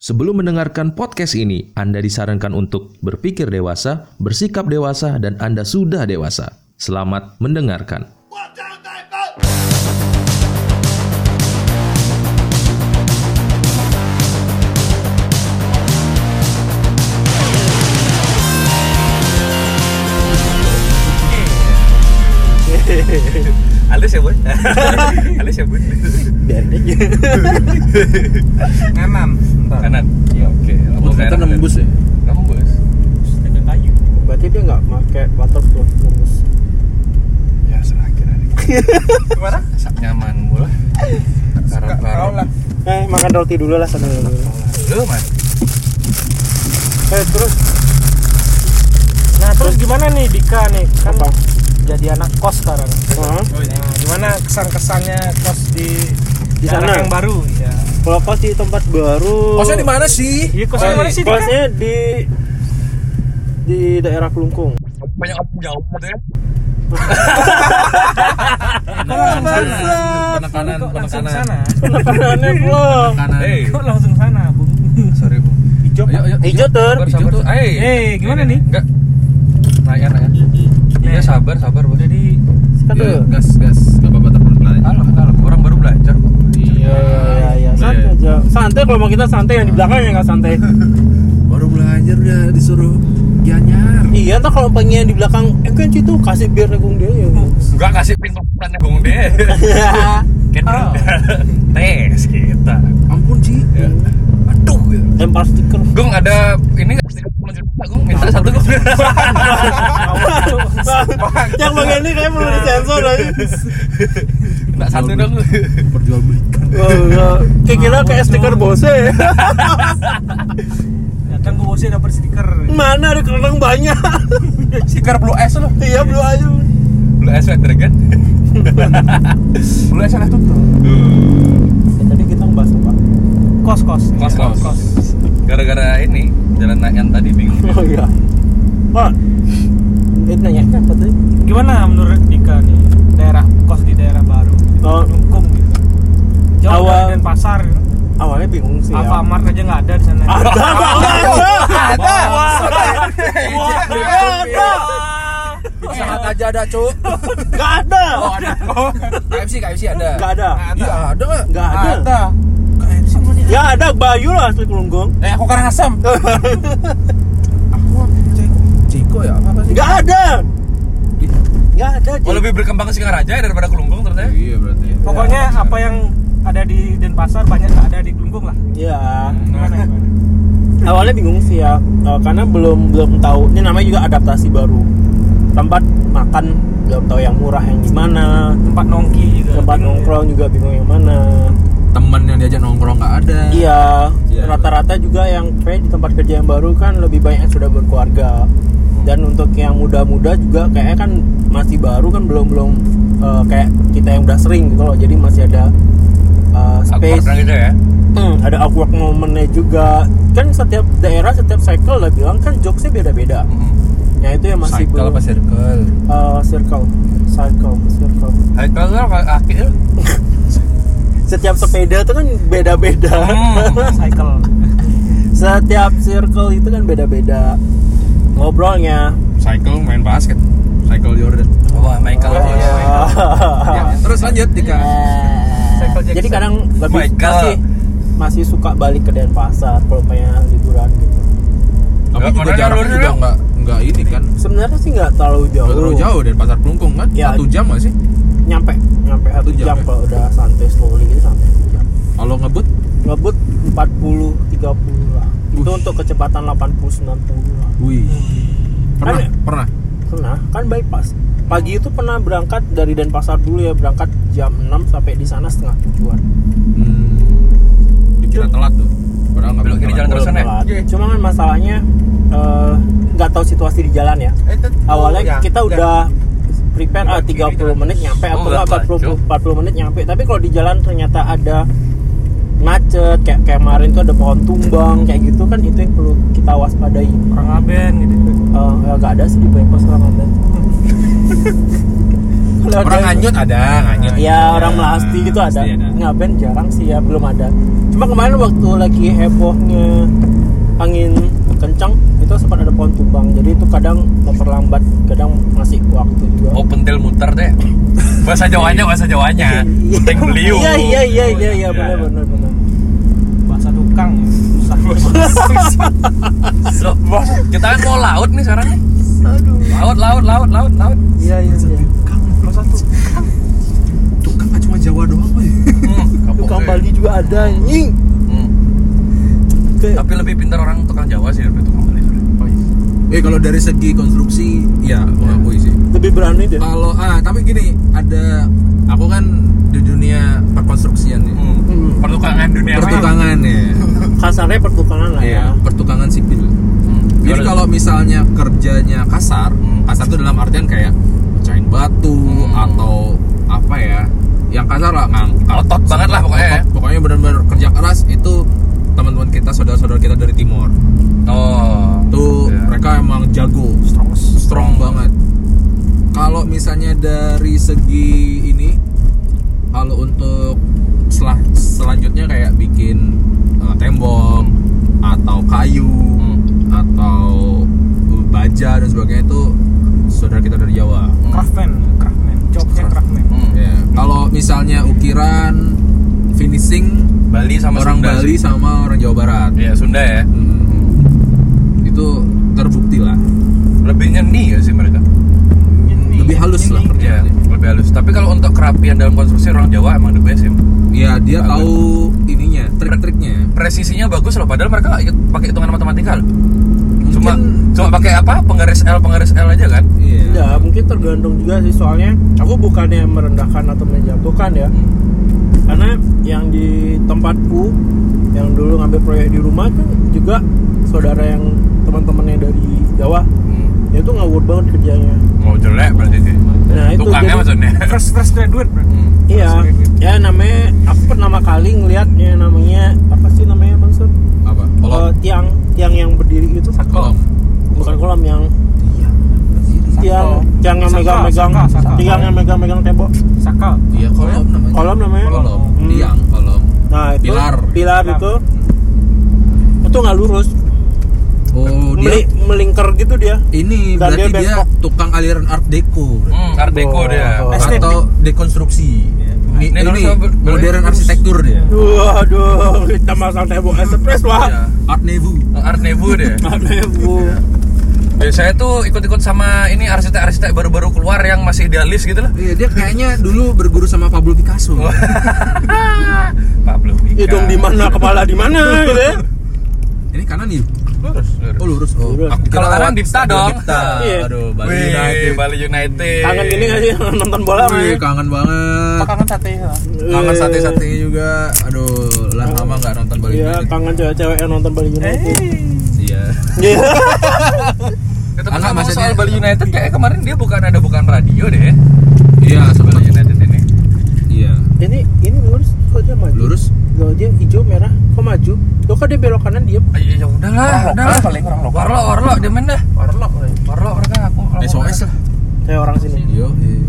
Sebelum mendengarkan podcast ini, Anda disarankan untuk berpikir dewasa, bersikap dewasa, dan Anda sudah dewasa. Selamat mendengarkan. Watch out, they vote! Halus ya bun Halus ya bun biarin aja Kanan Kanan Iya oke Oh, ternyata nembus ya? Nembus Dengan kayu berarti dia nggak pakai waterproof rumus Ya selagi dari Gimana? Asap nyaman mula Karang-karang eh makan roti dulu lah sambil dulu Lu man eh terus nah terus gimana nih Dika nih kan jadi anak kos sekarang Nah, gimana kesan-kesannya kos di Di daerah sana? yang baru ya. kalau kos di tempat baru Kosnya di mana sih? Iya, kosnya di mana sih? Dika? Oh, kosnya di di daerah Kelungkung Banyak orang jauh tuh ya Penekanan, Kok langsung penekanan. sana? makanannya belum Penekanan. Hey Kok langsung sana, Bung? Sorry bu Hijau Ayo ayo hijau ter Sabar tuh Hey Eh, gimana nih? Enggak Naya naya Iya Naya. sabar sabar bu Jadi satu Iya, gas, gas. Gak apa-apa, telepon pelan aja. Kalem kalem Orang baru belajar kok iya iya iya santai aja santai kalau mau kita santai yang di belakang yang nggak santai Baru belajar udah disuruh nyanyar. iya ntar kalau pengen di belakang eh kan itu kasih bir negung dia ya Gua kasih pintu pelan gong deh Kan Tes kita Ampun Ci. ya. Aduh gitu lempar stiker Gung ada ini nggak pasti kamu lanjut nggak Gung minta satu Gung. yang bagian ini kayak Iya. perlu disensor eh. aja Minta satu dong. Perjual belikan. kayak gila Oh, iya. kayak stiker bose Datang ke bosnya dapat stiker. mana ada kerang banyak Stiker blue S loh. iya belum aja Blue S Red Dragon. blue S lah tuh. tadi kita ngebahas apa Kos-kos. Kos kos. Gara-gara ini jalan naik tadi bingung. oh iya pak eh nanya apa tadi Gimana menurut Dika nih daerah kos di daerah baru? Di Oh. Lungkung gitu. Jauh Awal- dari pasar. awalnya bingung sih ya Alfamart aja nggak ada di sana. Ah. Ada. Saat aja ada, Cuk. nggak ada KFC, KFC ada. nggak ada Iya, ada nggak? nggak ada ya ada Bayu lah asli Kulunggong Eh, aku karang asam. Aku Ciko ya apa sih? nggak ada Gitu. nggak ada Oh lebih berkembang ke Singaraja ya daripada Kulungkung ternyata. Iya berarti. Pokoknya apa yang ada di Denpasar banyak nggak ada di Lungkung lah. ya Nah. Gimana? gimana? awalnya bingung sih ya eh, karena belum belum tahu ini namanya juga adaptasi baru tempat makan belum tahu yang murah yang gimana Tempat nongki juga. tempat Bingung ya. nongkrong juga bingung yang mana Temen yang diajak nongkrong nggak ada. Iya, Iya. rata-rata juga yang kayak di tempat kerja yang baru kan lebih banyak yang sudah berkeluarga. Dan untuk yang muda-muda juga kayaknya kan masih baru kan belum belum eh, kayak kita yang udah sering gitu loh. Jadi masih ada eh, Aku space, pernah gitu ya. Hmm, ada awkward momennya juga. Kan setiap daerah, setiap cycle lah bilang kan jokesnya beda-beda. Nah itu yang masih Cycle belum apa circle? eh, circle, cycle, circle. Hai kalau kalau kaki lu. Setiap sepeda itu kan beda-beda. Hmm. cycle setiap circle itu kan beda-beda ngobrolnya Cycle main basket. Cycle Jordan. Wah Oh, Michael. Iya, Michael. Ya, terus lanjut Dika. Cycle jadi Jackson. kadang Oh lebih Michael. masih masih suka balik ke Denpasar kalau pengen liburan gitu Tapi Nggak, juga orangnya jaraknya lurus, juga ya? nggak nggak ini kan. sebenarnya sih nggak terlalu jauh, Nggak terlalu jauh dari pasar Kelungkung kan? Ya. Satu jam nggak sih? nyampe nyampe satu Satu jam jam, ya? kalau udah santai slowly gitu sampai satu jam Kalau ngebut ngebut 40 30 lah itu Wush. untuk kecepatan 80 90 lah Wih. Pernah, Ada. pernah. pernah kan bypass pagi itu pernah berangkat dari Denpasar dulu ya berangkat jam 6 sampai di sana setengah tujuan Hmm, dikira telat tuh. Padahal nggak Belok kiri telat. jalan terusan ya. Telat. Cuma kan masalahnya eh, nggak tahu situasi di jalan ya. Awalnya kita udah prepare ah, 30 menit nyampe Oh, atau nggak nggak telat, 40, 40 menit nyampe. Tapi kalau di jalan ternyata ada macet kayak kayak kemarin tuh ada pohon tumbang kayak gitu kan itu yang perlu kita waspadai. orang aben gitu Eh, nggak ada sih di bypass Ramadhan. Kalau orang ada- hanyut ada hanyut Ya orang melasti gitu ada. Nah, iya. pasti ada. Ngaben jarang sih ya, belum ada. Cuma kemarin waktu lagi hebohnya angin kencang itu sempat ada pohon tumbang. Jadi itu kadang memperlambat, kadang masih waktu juga. oh pentil muter deh bahasa jawanya bahasa jawanya penting beliau Iya iya iya iya iya benar benar benar. bahasa tukang ya. susah Loh, kita kan mau laut nih sekarang nih laut laut laut laut laut Iya iya iya. bahasa tukang tukang kan cuma Jawa doang boy Hmm, kapok Tukang deh. Bali juga ada anjing. Hmm, Kayak- tapi lebih pintar orang tukang Jawa sih daripada tukang Bali sebenarnya. eh kalau dari segi konstruksi ya mengakui sih Lebih berani deh. kalau ah tapi gini ada aku kan di dunia perkonstruksian ya Hmm, Hmm. pertukangan dunia maya. pertukangan ya Kasarnya pertukangan lah ya. Iya, pertukangan sipil Hmm, gimana? jadi kalau misalnya kerjanya kasar Hmm. kasar itu dalam artian kayak pecahin batu Hmm. atau apa ya yang kasar lah ngangkat Otot banget lah pokoknya ya. Otot, pokoknya benar-benar kerja keras itu teman-teman kita saudara-saudara kita dari timor oh tuh Iya. mereka emang jago strong strong banget kalau misalnya dari segi ini kalau untuk sel- selanjutnya kayak bikin eh, tembok atau kayu Hmm. atau eh, baja dan sebagainya itu saudara kita dari Jawa Hmm. craftman craftman jobnya craftman Hmm. Ya, kalau misalnya ukiran finishing Bali sama orang Sunda Bali sih. sama orang Jawa Barat ya Sunda ya Hmm. itu terbukti lah lebih nyeni ya sih mereka Ini, lebih halus ini. lah Iya, kerjaannya lebih halus. Tapi kalau untuk kerapian dalam konstruksi orang Jawa emang the best ya. ya dia Bagus. tahu ininya trik-triknya Presisinya bagus loh, padahal mereka nggak ikut pakai hitungan matematika loh. Cuma Mungkin- cuma pakai apa? Penggaris L, penggaris L aja kan? iya Ya, mungkin tergantung juga sih soalnya aku bukannya merendahkan atau menjatuhkan ya. Karena yang di tempatku yang dulu ngambil proyek di rumah kan juga saudara yang teman-temannya dari Jawa Hmm. ya itu ngawur banget kerjanya. Mau jelek berarti sih. Nah, itu Tukangnya jadi- maksudnya. Eh, fresh fresh graduate bro. Hmm. Iya, ya namanya aku pertama kali ngeliat ya namanya apa sih namanya Bang Sun? apa kolom Eh, tiang tiang yang berdiri itu kolom bukan kolam yang tiang tiang yang Saka, megang-megang saka, saka. tiang yang megang-megang tembok sakal iya kolom namanya kolam namanya kolom Hmm. tiang kolom Nah, itu Pilar. pilar Pilar. itu itu nggak lurus, oh dia Meli- melingkar gitu dia. ini Dan berarti dia dia bengkok. tukang aliran art deco Hmm, Art Deco Oh. dia. Oh. Estetik. atau dekonstruksi ini, Ini ini harusnya ber- modern ber- arsitektur dia Waduh, kita masang tembok ekspres Iya. lah. art nouveau Art Nouveau dia. Ada bu. Biasanya Ya, tuh ikut-ikut sama ini arsitek-arsitek baru-baru keluar yang masih idealis gitu lah. Iya, dia kayaknya dulu berguru sama Pablo Picasso. Pablo Picasso. Hidung di mana, kepala di mana gitu. ya. Ini kanan nih. Lurus, lurus. Oh lurus. Oh, Lurus. Aku kira Kalau kanan lewat Dipta stadion dong. Dipta. Iya. Aduh, Bali Wih, United. Bali United. Kangen ini nggak sih nonton bola? Wih, Mas? kangen banget. kangen sate ya. Iya, Eh. Kangen sate-satenya juga. Aduh, lah lama nggak nonton Bali Iya, United. kangen cewek-cewek yang nonton Bali Eh. United. Iya. Iya. Kita Ah, nggak, ngomong maksudnya- soal Bali United kayaknya kemarin dia bukan ada bukan radio deh. Iya, Bali sebenarnya. United ini. Iya. Ini ini lurus kok dia maju. Lurus. Loh, dia hijau merah kok maju? Loh kok dia belok kanan diem? Ah, Ya ya udahlah, udahlah. Paling orang lokal. Orlo, orlo, dia main dah. Orlo, orlo mereka aku. aku- SOS lah. eh, Kayak orang sini. Yo. iya.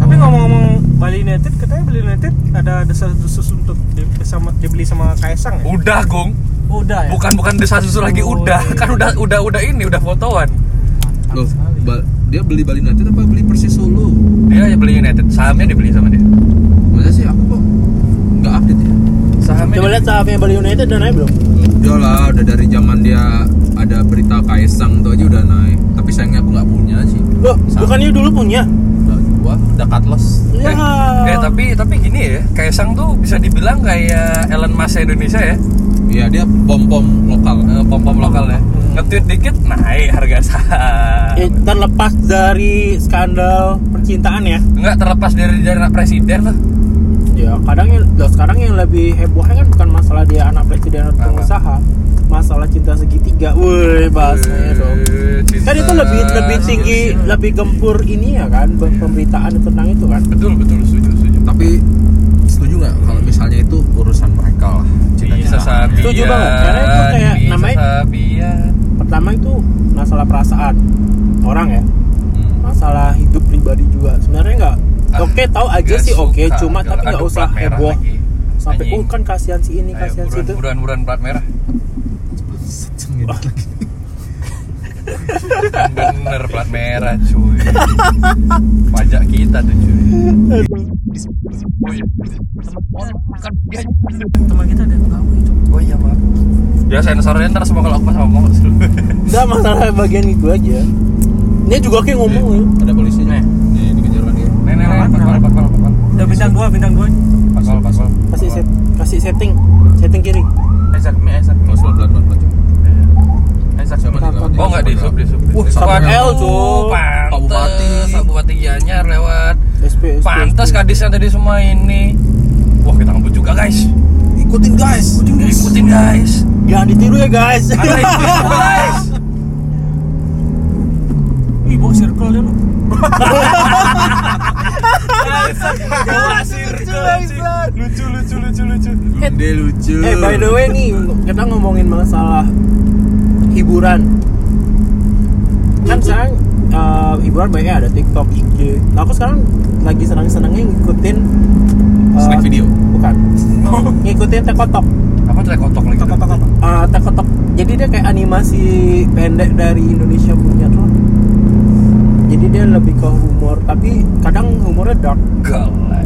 Tapi ngomong-ngomong Bali United, katanya Bali United ada desas-desus untuk di- sama dibeli sama Kaisang ya? Oh. Udah, Gung. Udah ya. Bukan bukan desa susu lagi Oh, udah. iya. Kan udah udah udah ini udah fotoan. Loh, Ba- dia beli Bali United apa beli Persis Solo? Dia aja beli United, sahamnya dibeli sama dia. Masa sih aku kok nggak update ya? Sahamnya. Coba dibeli. lihat sahamnya Bali United udah naik belum? Udah lah, udah dari zaman dia ada berita Kaisang tuh aja udah naik. Tapi sayangnya aku nggak punya sih. Loh, Saham. bukannya dulu punya? Udah gua udah cut loss. Ya. Eh, eh, tapi tapi gini ya, Kaisang tuh bisa dibilang kayak Elon Musk Indonesia ya, Iya dia bom bom lokal. eh, pom-pom lokal ya. Hmm. Nge-tweet dikit naik harga saham. Ya, terlepas dari skandal percintaan ya Enggak terlepas dari dari anak presiden lah. Iya. ya kadang yang loh, sekarang yang lebih hebohnya kan bukan masalah dia anak presiden atau Apa? pengusaha masalah cinta segitiga woi bahasanya dong Eh, cinta. kan itu lebih lebih tinggi lebih gempur ini ya kan be- pemberitaan tentang itu kan Betul betul setuju setuju. Tapi setuju nggak kalau misalnya itu urusan mereka lah. Cinta Cita-cita. sapi. Setuju banget, karena itu kayak namanya- sapi. pertama itu masalah perasaan orang ya Hmm. masalah hidup pribadi juga sebenarnya nggak Ah, oke tahu aja Gak sih oke suka. cuma tapi Aduh, nggak usah plat merah heboh lagi. sampai Anjing. oh kan kasihan si ini Ayo, kasihan si buruan, itu buruan, buruan, plat merah. Cengit lagi. Yang Bener plat merah, cuy. Pajak kita tuh, cuy. teman kita ada yang tahu itu Oh iya, maaf. Ya sensornya ntar semua kalau aku pas ngomong seru. nggak masalah bagian itu aja dia juga kayak ngomong ya. Ada polisinya. Nih. Nih, dikejar lagi. Nih, nih, nih, pakol, pakol, pakol. udah bintang dua bintang dua Pakol, pakol. kasih set, kasih setting setting kiri Isaac, mi Isaac. Close pelan pelan pelan. Isaac Siapa nih? Kapan? Oh enggak ya? di sub, di sub. Wah, sama L, tuh. Pak Pak Bupati, Bupati. Pak Bupati Gianyar lewat. SP, SP, Pantas kan? kadisnya tadi semua ini. Wah, kita ngebut juga, guys. Ikutin guys. Ikutin, guys. jangan ditiru ya guys Ada yang ikutin, guys. ih bawa circle dia lu Lucu, lucu, lucu, lucu. Dia lucu. eh by the way nih kita ngomongin masalah hiburan kan sekarang eh, hiburan banyak ada TikTok, IG. Nah, aku sekarang lagi senang-senangnya ngikutin eh, Snack video. bukan ngikutin tekotok Apa tuh kotok lagi? Kotok, kotok, kotok. Eh, tekotok jadi dia kayak animasi pendek dari Indonesia punya tuh jadi dia lebih ke humor tapi kadang humornya dark Galai.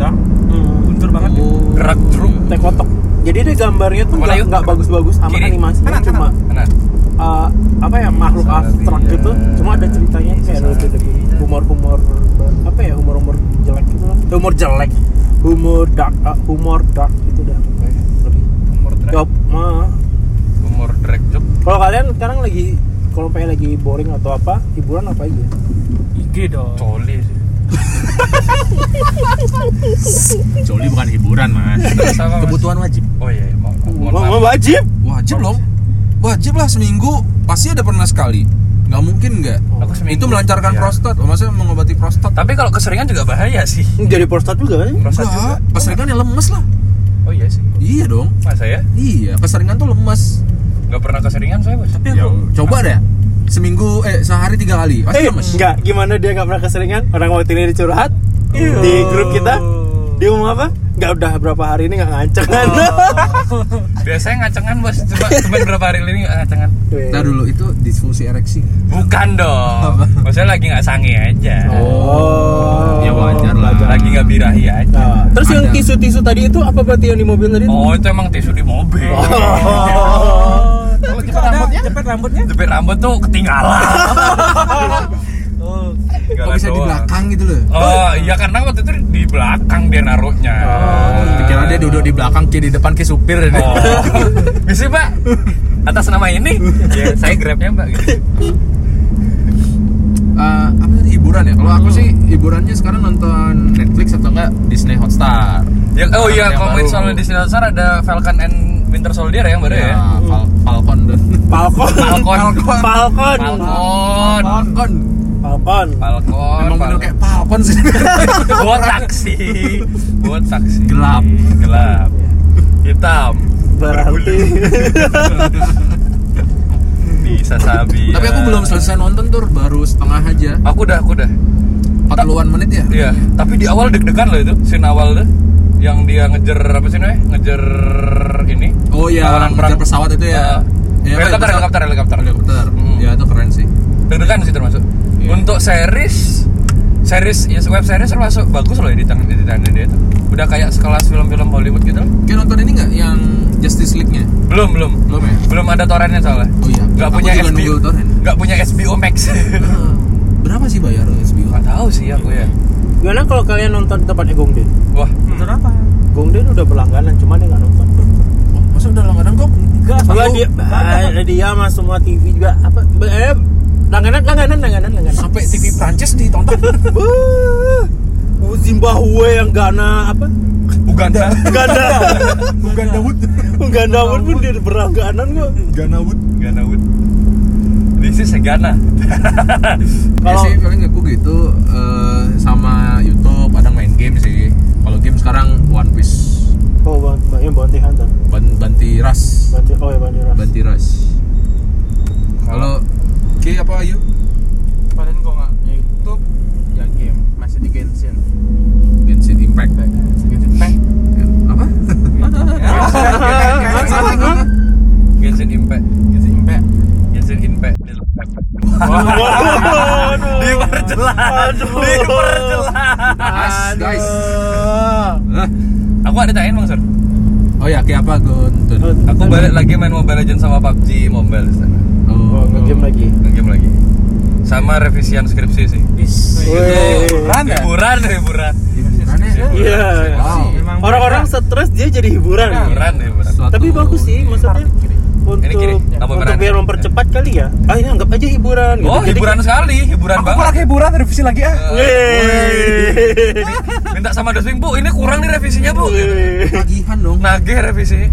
dah Hmm. guntur banget ya. Oh. Gerak jeruk. tekotok jadi dia gambarnya tuh Apa nggak yuk? nggak bagus-bagus amat Kiri. animasinya Kanan, cuma Kanan. eh, apa ya makhluk Salah abstrak dia. Iya, gitu cuma ada ceritanya kayak lebih lebih humor-humor apa ya humor-humor jelek gitu lah humor jelek humor dark eh, humor dark gitu dah pokoknya. lebih Umur drag. Yup, mah. Umur drag jok. Kalau kalian sekarang lagi kalau pengen lagi boring atau apa, hiburan apa aja? IG dong Coli sih. Joli bukan hiburan, Mas. Terus apa, Mas? Kebutuhan wajib. Oh iya, iya, mau. mau- Wah, mau- wah, wajib. Wajib dong. Wajib lah seminggu pasti ada pernah sekali. Nggak mungkin nggak. Aku seminggu. Itu melancarkan Iya. prostat. Oh, maksudnya mengobati prostat. Tapi kalau keseringan juga bahaya sih. Ini Jadi prostat juga kan? Prostat juga. Enggak, keseringan ya lemes lah. Oh iya sih. Iya dong. Masa ya? Iya, keseringan tuh lemes. Nggak pernah keseringan saya, Bos. tapi Ya, aku coba deh. Seminggu eh sehari tiga kali. Pasti Eh, lemes. enggak. Gimana dia nggak pernah keseringan? Orang waktu ini dicurhat Iya. di grup kita. Oh. Dia ngomong apa? Enggak udah berapa hari ini nggak nganceng kan? Biasanya ngacengan, Bos. Cuma cuma berapa hari ini nggak ngacengan. Weh. Nah dulu itu disfungsi ereksi. Bukan dong. Maksudnya lagi nggak sange aja. Oh. Ya wajar lah. Lagi nggak birahi aja. Nah, terus yang Ada. tisu-tisu tadi itu apa berarti yang di mobil tadi? Oh, itu emang tisu di mobil. oh Kalau tapi jepit kalau ada rambutnya? jepit rambutnya Jepit rambut tuh ketinggalan. oh Kok Ketinggalan bisa di doang. belakang gitu loh? Oh, iya karena waktu itu di belakang dia naruhnya. Oh, Pikiran dia duduk di belakang, kiri di depan kayak supir deh. Oh. Bisa, Pak? Atas nama ini? Ya, Iya, saya grabnya, Mbak. Gitu. Eh, apa tadi hiburan ya? Kalau aku sih hiburannya sekarang nonton Netflix atau enggak Disney Hotstar. Ya, oh iya, Yang komen baru. soal di Silasar ada Falcon and Winter Soldier yang baru Iya. ya. Fal- Falcon dan Falcon. Falcon. Falcon. Falcon. Falcon. Falcon. Falcon. Memang bener kayak Falcon sih. botak sih. Botak sih. Gelap. Gelap. Hitam. Berarti Bisa sabi. Iya. Tapi aku belum selesai nonton tuh, baru setengah aja. Aku udah, aku udah. 40-an menit ya? Iya, tapi di awal deg-degan loh itu, scene awal tuh yang dia ngejar apa sih namanya? Ngejar ini. Oh iya, Tawaran ngejar perang. pesawat itu ya. Iya, Iya, helikopter, pesawat. helikopter, helikopter, Helikopter. Hmm. Ya itu keren sih. Deg-degan sih termasuk. Iya. Untuk series series ya web series termasuk bagus loh ya di tangan di tangan dia itu. Udah kayak sekelas film-film Hollywood gitu. loh. Kayak nonton ini nggak yang Justice League-nya? Belum, belum. Belum ya? Belum ada torrentnya soalnya. Oh iya. Nggak Aku punya juga HBO. nunggu torrent. Nggak punya HBO Max. Eh, Berapa sih bayar HBO? Nggak tahu sih aku ya. gimana kalau kalian nonton di tempatnya Gongden? Wah, nonton apa Gongden udah berlangganan, cuma dia nggak nonton. Wah, masa udah langganan kok? enggak Enggak aku- dia, ah, dia sama semua TV juga apa eh, langganan langganan langganan langganan. Sampai TV Prancis ditonton. Wuh, Oh, Zimbabwe yang Ghana apa? Uganda. Ghana, Bukan Daud. Ghana pun pun dia berlangganan kok. Ganawut. Ghana Wood. This is a Ghana. Kalau Kalau- Iya sih paling aku gitu eh, sama YouTube kadang main game sih. Kalau game sekarang One Piece Oh, bant ya Bounty Hunter, ban Banti Ras. Bounty oh ya Bounty Rush. Banti Ras. Kalau Ki apa yuk? paling kok nggak Pack, pack. Apa? Genshin Impact Genshin Impact. Genshin Impact Diperjelas Diperjelas Nice, guys. Aku ada tanyain Bang Sur Oh ya, kayak apa Gun? Aku balik lagi main Mobile Legends sama PUBG Mobile di sana. Oh, ngegame lagi. Nge-game lagi Sama revisian skripsi sih Wih. Hiburan ya? Hiburan, hiburan eh. Iya. Wow. Memang Orang-orang stres dia jadi hiburan. Hiburan, hiburan Suatu- Tapi bagus sih maksudnya untuk Ini kiri, tambah untuk kanan. biar mempercepat kali ya. Ah ini anggap aja hiburan gitu. Oh, Jadi- hiburan sekali, hiburan banget hiburan revisi lagi ah. Wih. Minta sama dosing, Bu, ini kurang nih revisinya, Bu Iya. Tagihan dong. Nagih revisi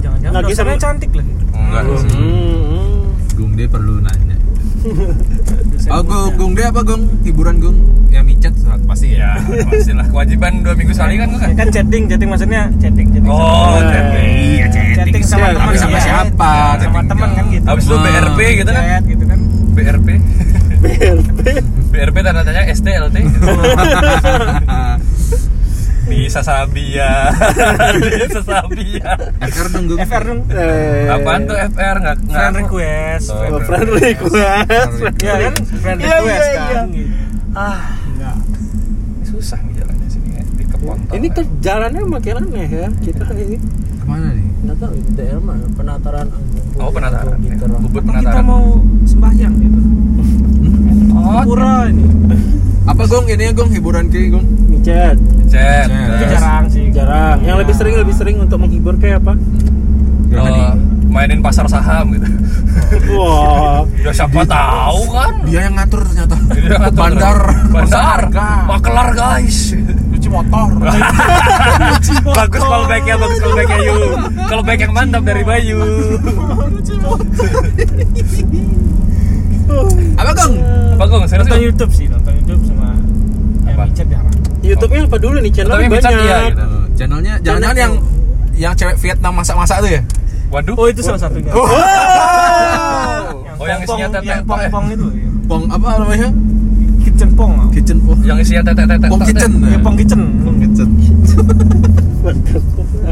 Jangan-jangan Lagi dosennya sama- cantik lagi. Enggak sih Hmm. Gungde perlu nanya. Dosen Oh, Gung, muda. Gungde apa Gung? Hiburan Gung? Ya micet pasti Ya, pastilah kewajiban dua minggu sekali kan, kan? kan chatting, chatting maksudnya chatting, chatting. Oh, Iya. chatting chatting sama Iya, teman Tapi sama iya. siapa? Sama Chatting teman kan doang. gitu. Habis itu Ah. BRP gitu kan? Chat gitu kan. BRP BRP tanda tanya SD, LT Di Sasabia Di Sasabia FR dong Gung. FR dong. Eh, Apaan tuh FR? Nggak, nggak Friend aku. request. Oh, friend- oh, friend request. Iya kan? Friend Iya, request iya, kan. gitu. Susah nih jalannya sini ya, di kepontong Ini ya. kan jalannya makin aneh ya. Kita kan ini Kemana nih? nggak tahu ini daerah mana penataran Anggung. Oh, penataran, Anggung ya. gitu, Ron. Apa Bubut kita penataran. mau sembahyang gitu? Oh, Pura ini. Apa Gung? Ini ya Gung hiburan ke Gung. Micet, chat Itu Yes. jarang sih. jarang. Yang lebih sering lebih sering untuk menghibur kayak apa? Oh, mainin pasar saham gitu Wah. ya siapa tahu kan Dia yang ngatur ternyata. Jadi dia ngatur Bandar. terus. bandar Harga. makelar guys Cuci motor. bagus kalau backnya bagus kalau backnya yuk kalau back yang mantap dari Bayu Apa Gung? bagus serius Nonton Gung? YouTube sih, nonton YouTube sama Apa? yang chat jarang. YouTube-nya apa dulu nih channel Tapi banyak. micat iya gitu. Eh, Channelnya jangan-jangan yang yang cewek Vietnam masak-masak tuh ya? waduh Oh itu salah satunya. Oh, yang isinya pong-pong- tetek, yang pong-pong itu ya. Pong apa namanya? Kitchen pong. apa? Kitchen pong. yang isinya tetet tetet Pong tetet. kitchen. Ya pong kitchen. kitchen.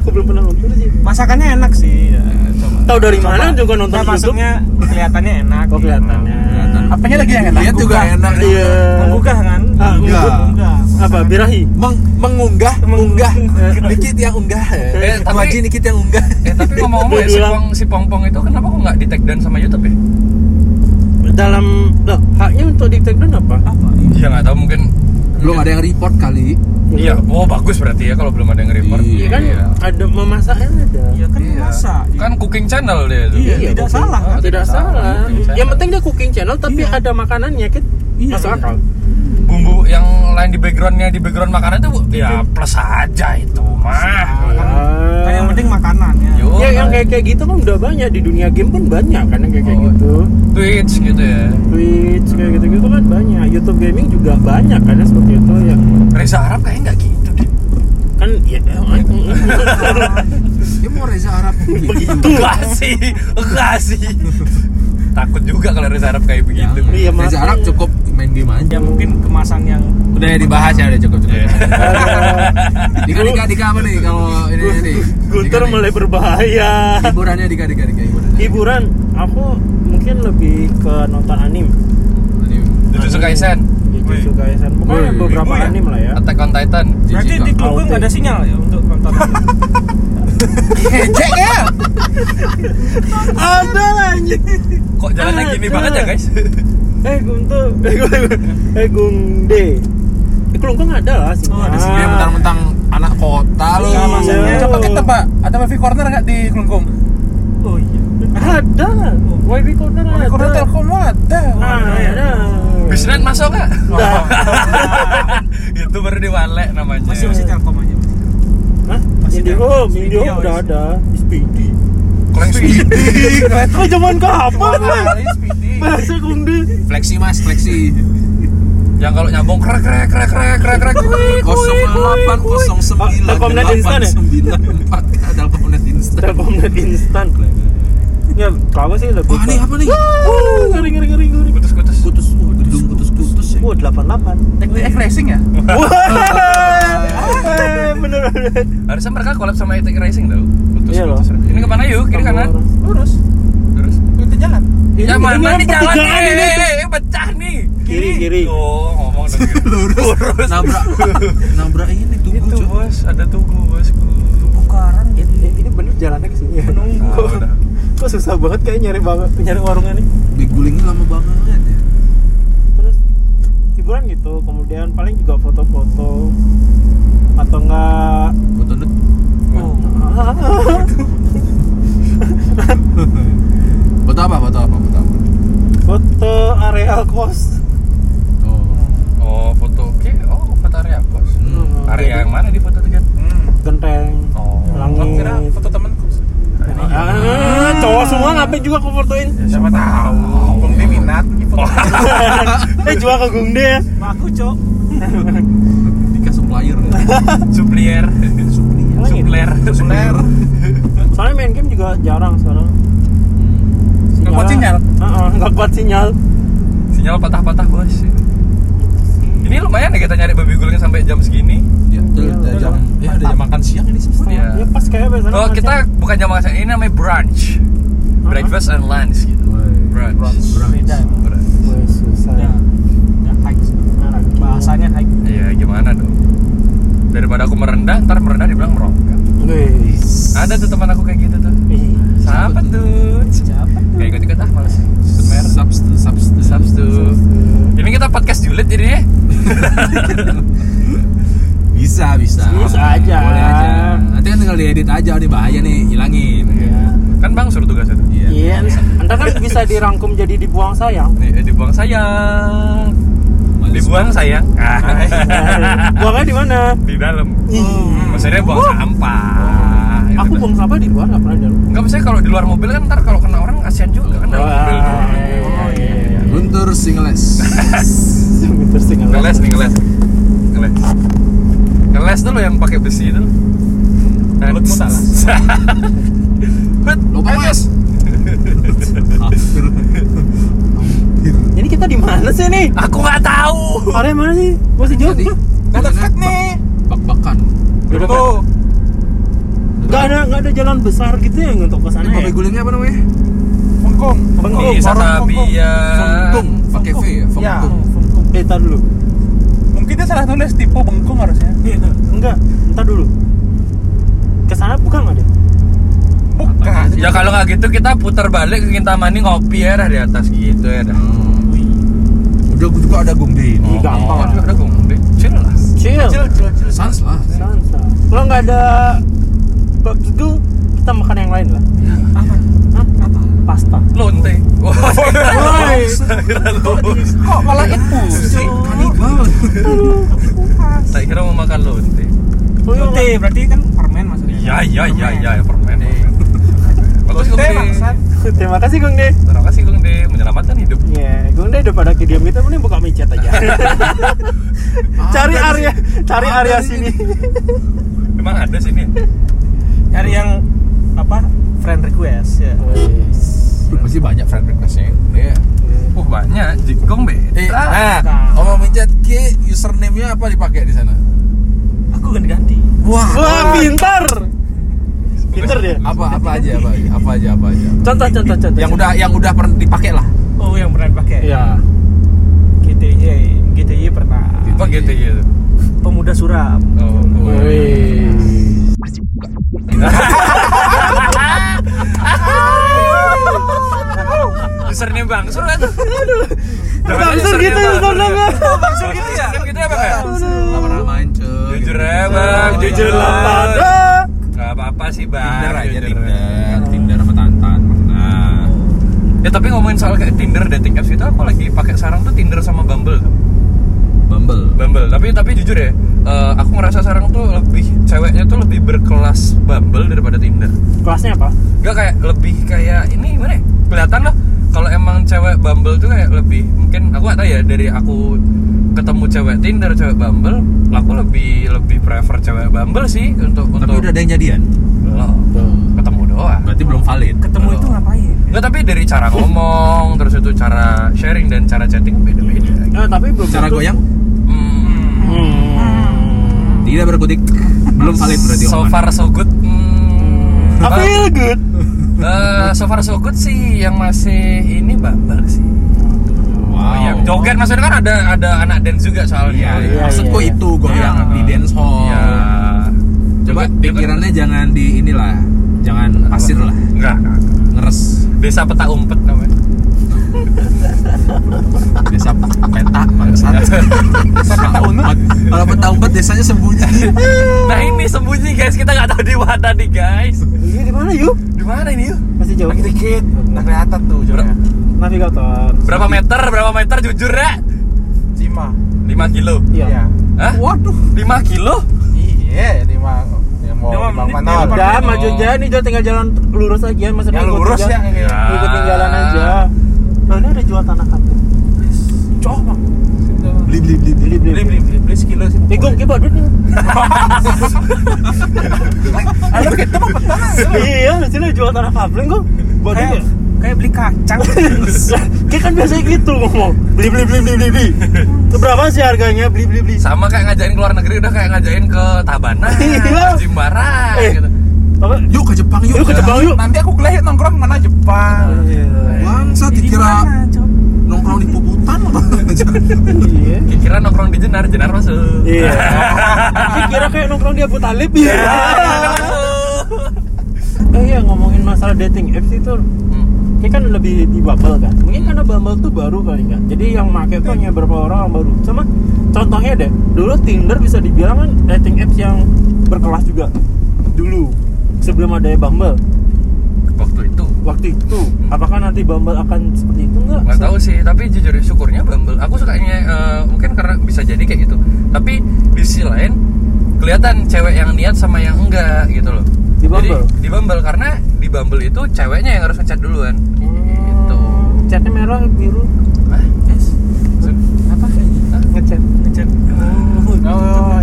Aku belum pernah nonton sih. Masakannya enak sih. Ya, coba. Tahu dari Coba. mana juga nonton Nah, YouTube? maksudnya kelihatannya enak. Iya. Oh, kelihatannya. Apanya lagi yang enak? Lihat juga enak. Iya. Menggugah kan? Ah, enggak. Menggugah. Apa birahi? Meng- mengunggah, mengunggah, dikit yang unggah. Eh, Eh, tapi- Waji dikit yang unggah. eh tapi ngomong-ngomong ya si Diulang. pong si pong itu kenapa kok nggak di take down sama YouTube ya Dalam loh, haknya untuk di take down apa? Apa? iya nggak tahu mungkin Belum ada yang report kali. iya oh bagus berarti ya kalau belum ada yang report Iya kan Iya. ada memasaknya ada. Ya kan Iya. masak. kan cooking channel dia itu. Iya, tidak cooking. salah. Tidak, Tidak salah. salah. Cooking channel. Yang penting dia cooking channel tapi Iya. ada makanannya kan. Iya, Masuk iya. akal. bumbu yang lain di backgroundnya di background makanan itu Bu, ya plus aja itu mah Kan, kan yang penting makanannya. Yo, Ya Ah. yang kayak main kayak gitu kan udah banyak di dunia game pun banyak kan yang kayak kayak Oh. gitu. Twitch gitu ya Twitch kayak gitu-gitu kan banyak. YouTube gaming juga banyak kan ya, seperti itu ya. Reza Arab kayaknya nggak gitu deh Kan ya Dia Ya, mau Reza Arab begitu. enggak sih enggak sih takut juga kalau Reza Arab kayak begitu Iya, makanya. Reza Arab cukup main game aja. Ya mungkin kemasan yang Udah ya dibahas ya udah cukup cukup. Iya. Dika Dika Dika apa nih kalau ini ini, ini? Dika Guntur nih. mulai berbahaya. hiburannya Dika Dika Dika hiburannya. Hiburan aku mungkin lebih ke nonton anime. Ini Jujutsu Kaisen Jujutsu Kaisen. Pokoknya Wih. beberapa Wih. anime lah ya. Attack on Titan berarti Jijik, di Kak. klub gue Outing. nggak ada sinyal ya untuk nonton. Ejek ya. Ada lah anjing. kok jalannya gini Ada. banget ya guys Eh Guntu. Eh, Gun- Eh Gungde. Eh Kelungkung ada lah sih. Oh, ada Iya, Ah. Dia mentang-mentang anak kota lu. Iya, maksudnya. Coba kita Pak. Ada wifi corner nggak di Klungkung? Oh iya. Ada lah. Wifi corner ada. Wifi corner Telkom ada. Ada. Bisnet masuk nggak itu baru diwalek namanya Masih masih Telkom aja. Hah? Masih ada. Indihome, Speedy Indihome awas. udah ada. Speedy. Kalau yang speedy Eh zaman kapan lah? Bahasa Gungde. Fleksi Mas, fleksi. yang kalau nyambung krek krek krek krek krek krek kuik, kuik, kuik. 0809 Telkomnet instan ya? 894 ada Telkomnet instan. Telkomnet instan. Ya, kalau sih lebih. Wah, ini apa nih? Ngeri ngeri ngeri ngeri. putus putus Putus, oh, gedung putus-putus ya. Wow, 88. Oh, iya. X Racing ya? Eh, bener bener. Harusnya mereka collab sama Etek Racing tau putus, Iya loh. putus. Ini kemana yuk? Kiri kanan? lurus Terus? itu jalan Ya mana ini nih jalan pertigaan nih? ini. Eh, eh, Pecah nih Kiri, kiri. Oh ngomong dong gitu. Lurus Nabrak nabrak ini tuh Itu bos, ada tugu bosku Tukaran Eh, eh, Ini bener jalannya ke sini ya. menunggu Ah, udah. Kok susah banget kayak nyari banget nyari warungnya nih. Digulingnya lama banget ya. Terus hiburan gitu, kemudian paling juga foto-foto atau enggak Gua tunduk. Hmm. Foto apa? Foto apa? Foto apa? foto areal kos. Oh. Oh foto, oke, oh foto area bos Hmm. Area yang mana di foto Hmm. tiket? Genteng. Oh Gua Langit. kira foto temanku Ya, Ah, cowok semua ngapain juga aku fotoin? Ya, siapa tahu Iya. Bung Di minat nih foto. eh jual ke Gung De ya. aku cok Dika supplier ya. Suplier supplier. Emang gitu? Supler Supler Soalnya main game juga jarang sekarang. Nggak kuat sinyal? Heeh, nggak kuat sinyal. Sinyal patah-patah bos Ini lumayan ya kita nyari babi gulungnya sampai jam segini Ya, udah udah jam ya udah jam makan siang ini sebenarnya. Iya. Ya pas kayak biasanya. Oh makan kita bukan jam makan siang, ini namanya brunch Breakfast and lunch gitu Brunch siang. Brunch. beda. Brunch. Woi, susah. ya ya hike Nah, bahasanya hike Iya gimana dong Daripada aku merendah, ntar merendah dibilang merokok Wes. Ada tuh teman aku kayak gitu tuh Ih, Siapa tuh? siapa Kayak ikut-ikut ah males Ikut merah Substance, substance. Subs tuh Ini kita podcast julid jadinya Bisa, bisa. Bisa aja. Boleh aja. Nanti kan tinggal diedit aja, ini bahaya nih, hilangin. Iya. Kan bang suruh tugas itu Iya, Anda kan bisa dirangkum jadi dibuang sayang. Nih, eh, dibuang sayang Dibuang sayang Nah, Buangnya di mana? Di dalam Ih, Maksudnya buang sampah Gitu Aku dah. buang sampah di luar nggak pernah di Enggak, maksudnya kalau di luar mobil kan ntar kalau kena orang kasihan juga iya, kan dalam mobil Oh iya. iya. Guntur singles. Winter sing alam. Ngeles nih, ngeles Ngeles Ngeles dulu yang pakai besi itu Nah, Mulutmu talas. Bet, Lupa mas. Hampir. Jadi kita di mana sih nih? Aku nggak tahu. Area mana sih? Oh. Masih jauh? Tadi Hah? nggak dekat nih. Bak-bakan. Tuh. Gak ada nggak ada jalan besar gitu ya untuk ke sana Ini ya? pakai gulingnya apa namanya? Bengkong. Bengkong. Bisa warung Iya. Fengkung. tabian. Pakai V Ya. ya. Fengkung. Eh, tar dulu. Mungkin dia salah nulis tipe bengkong harusnya. Iya, Enggak, entar dulu. Ke sana bukan nggak deh? Bukan. Ya kalau nggak gitu kita putar balik ke Kintamani ngopi ya dah di atas gitu ya dah. Hmm. Udah gua juga ada gombe. Ih, Iya. gampang lah. Aduh, ada gombe. Chill lah. Chill. Cil, cil, cil. Sans lah. Santai. Kalau nggak ada bakso, kita makan yang lain lah. Hah? Pasta. Lonte. Oh, Woi. Kok malah itu? Panik banget. Saya kira mau makan lonte. Oh, iya, Tute berarti kan permen maksudnya Ya ya ya ya permen. permen. Bagus Gung Teh, De. bangsat. Terima kasih Gung De. Terima kasih Gung De menyelamatkan hidup. Ya, Gung De daripada kediam kita gitu, mending buka micet aja. Ah, cari Ada area, nih. cari Ada area nih. sini. Emang ada sini. nyari yang apa friend request ya Duh, Pasti banyak friend requestnya. Iya. Oh banyak. Jikong be. Eh, nah, omong micet Ki, username-nya apa dipakai di sana? aku ganti ganti Wah, Wah, pintar. Pinter dia. apa apa aja apa aja apa aja apa aja Contoh, contoh, contoh. yang udah yang udah pernah dipakai lah oh yang pernah pakai Ya. GTY GTY pernah Oh gitu gitu. pemuda suram Oh. Username Bang Sur kan? Bangsur gitu username-nya. Bangsur gitu ya? Username gitu ya Bang ya? nggak pernah main cuy Jujur ya Bang, jujur Jujur lah. lah. Gak apa-apa sih Bang. Tinder aja jujur. Tinder Tinder sama Tantan nah Ya tapi ngomongin soal kayak Tinder dating apps itu aku lagi pakai sarang tuh Tinder sama Bumble tuh. Bumble Bumble. Tapi tapi jujur ya, eh, aku ngerasa sarang tuh lebih ceweknya tuh lebih berkelas Bumble daripada Tinder. Kelasnya apa? Gak kayak lebih kayak ini gimana ya? Kelihatan loh kalau emang cewek Bumble tuh kayak lebih mungkin aku gak tahu ya dari aku ketemu cewek Tinder, cewek Bumble, aku lebih lebih prefer cewek Bumble sih untuk tapi untuk udah ada yang jadian Belum. ketemu doang. berarti belum valid ketemu itu ngapain Nggak, tapi dari cara ngomong, terus itu cara sharing dan cara chatting beda-beda. gitu. Nah, tapi belum Cara tentu- goyang Hmm, tidak berkutik, belum valid berarti. so omongan. far so good. Hmm, I apa? feel good. Eh, so far so good sih yang masih ini bumble sih. Wow. Oh, iya. Joget maksudnya kan ada ada anak dance juga Iya, soalnya. iya. Maksudku iya. itu goyang Iya. di dance hall. Iya. Coba Joget- pikirannya jangan di inilah, jangan joget- pasir lah, Enggak. enggak. ngeres. Desa peta umpet namanya. Desa peta bangsat. Desa peta umpet. Kalau peta umpet desanya sembunyi. Nah ini sembunyi guys, kita nggak tahu di mana nih guys. Iya di mana yuk? Di mana ini yuk? Masih jauh. Lagi dikit, nggak kelihatan tuh Ber- jalannya. Navigator. berapa meter? Berapa meter jujur ya? Lima. 5 kilo. Iya. Iya. Hah? Waduh. 5 kilo? Iya, lima. Ya mau Lima lima menit, mana? lima Pak? Udah, maju aja nih, jangan tinggal jalan lurus aja Mas Ya lurus ya. Iya. Ah. Ya. Ikutin jalan aja. Nah, ini ada jual tanah kampung. Cok, Bang. Beli beli beli beli. Beli beli. Beli beli beli beli sekilo sih. Eh, gue kibar duit nih. Alah, kita mau petang. Iya, di sini jual tanah kampung kok. Buat kayak duit. kayak beli kacang Kayak kan biasanya gitu ngomong. Beli beli beli beli beli. beli. Berapa sih harganya? Beli beli beli. Sama kayak ngajain keluar negeri udah kayak ngajain ke Tabanan, Iya. Jimbara Eh. gitu. Apa? Yuk ke Jepang yuk. Yuk ke Jepang yuk. Nanti aku kelihatan nongkrong mana Jepang. Bangsat dikira nongkrong di puputan apa? Iya. Kira Nah, nongkrong di Jenar, Jenar masuk. Iya. Kira kayak nongkrong di Abu Talib ya. Eh iya ngomongin masalah dating apps itu Hmm. kayak kan lebih di Bumble kan. Mungkin karena Bumble tuh baru kali kan. Jadi yang make tuh hanya beberapa orang yang baru. Sama contohnya deh, dulu Tinder bisa dibilang kan dating apps yang berkelas juga. Dulu sebelum ada Bumble Waktu itu waktu itu apakah nanti Bumble akan seperti itu enggak? nggak tahu sih, tapi jujur ya, syukurnya Bumble. Aku sukanya eh, mungkin karena bisa jadi kayak gitu. Tapi di sisi lain kelihatan cewek yang niat sama yang enggak gitu loh. Di Bumble? Jadi, di Bumble karena di Bumble itu ceweknya yang harus ngechat duluan. Gitu. Catnya Hmm, merah biru Hah? apa ngecat ngecat Oh,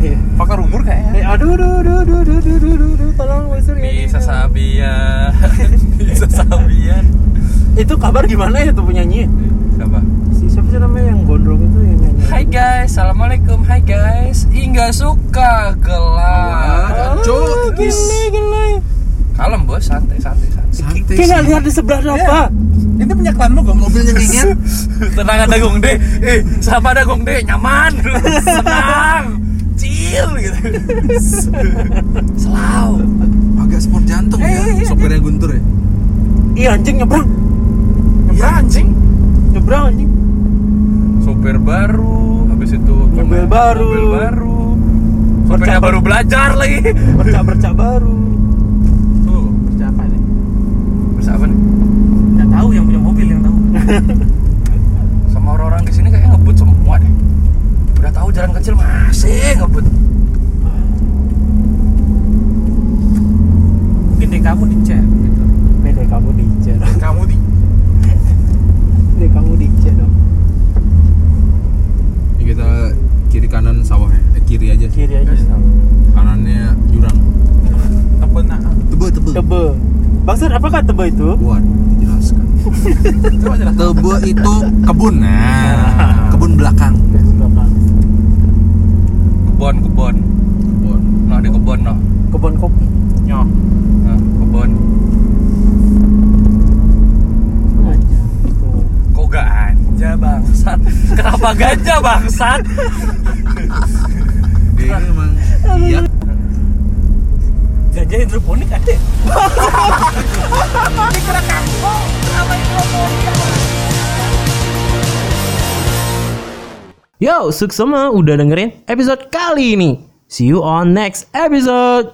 iya. Pakar umur kayaknya. iya. Eh, aduh, aduh, aduh, aduh, aduh, aduh, aduh, aduh, aduh, tolong Wasir ya. Bisa sabian. Bisa sabian. Itu kabar gimana ya tuh penyanyi? Siapa? Si siapa sih namanya yang gondrong itu yang nyanyi? Hai guys, assalamualaikum. Hai guys, Inga suka gelap. Wah, cok, kikis. Ah, Gila, gila. Kalem bos, santai, santai, santai. Santai. Kita lihat di Iya. sebelah ada apa? Ini punya klan lu gak mobilnya dingin. Tenang ada Gong De. Eh, siapa ada Gong De? Nyaman, senang, chill gitu. Selau. Agak sport jantung Iya, ya. Sopirnya guntur ya. Iya anjing nyebrang, Iya, Nyebrang anjing. nyebrang anjing. Sopir baru, habis itu Mobil baru. Mobil baru. Sopirnya Bercabang. baru belajar lagi. Bercak bercak baru. Tuh, Bercak apa nih? terus apa nih? nggak tahu yang punya mobil yang tahu Sama orang-orang di sini kayaknya ngebut semua deh. Udah tahu jalan kecil masih ngebut. mungkin deh kamu dicek gitu Beda kamu DJ dong. Kamu di Beda kamu DJ dong. Ini kita kiri kanan sawah ya. Eh, kiri aja. Iya. Kiri aja. Kanannya jurang. tebel nah. Tebel tebel. Tebe. Bangsat apakah tebe itu? Buat dijelaskan. Tebel itu kebun. Nah, kebun belakang. Iya, Kebon, kebon. Kebun. Nah, di kebon noh. Kebun kopi. Nyoh. Nah, kebon. Kok gak ganja bangsat? Kenapa ganja bangsat? Dia ini emang iya. gajah hidroponik ada ya? Yo, suksema udah dengerin episode kali ini. See you on next episode.